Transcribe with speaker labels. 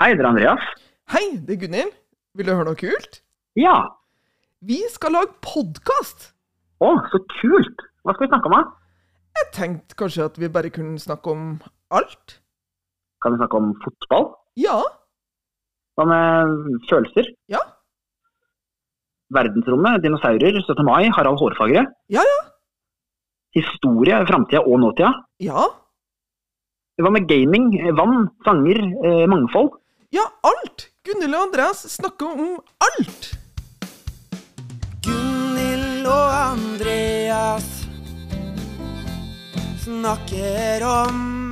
Speaker 1: Jeg heter Andreas.
Speaker 2: Hei, det er Gunhild. Vil du høre noe kult?
Speaker 1: Ja.
Speaker 2: Vi skal lage podkast!
Speaker 1: Å, så kult! Hva skal vi snakke om, da?
Speaker 2: Jeg tenkte kanskje at vi bare kunne snakke om alt?
Speaker 1: Kan vi snakke om fotball?
Speaker 2: Ja.
Speaker 1: Hva med følelser?
Speaker 2: Ja.
Speaker 1: Verdensrommet, dinosaurer, 17. mai, Harald Hårfagre.
Speaker 2: Ja, ja.
Speaker 1: Historie, framtida og nåtida.
Speaker 2: Ja.
Speaker 1: Hva med gaming, vann, sanger, eh, mangfold?
Speaker 2: Ja, alt! Gunhild og Andreas snakker om alt!
Speaker 3: Gunhild og Andreas snakker om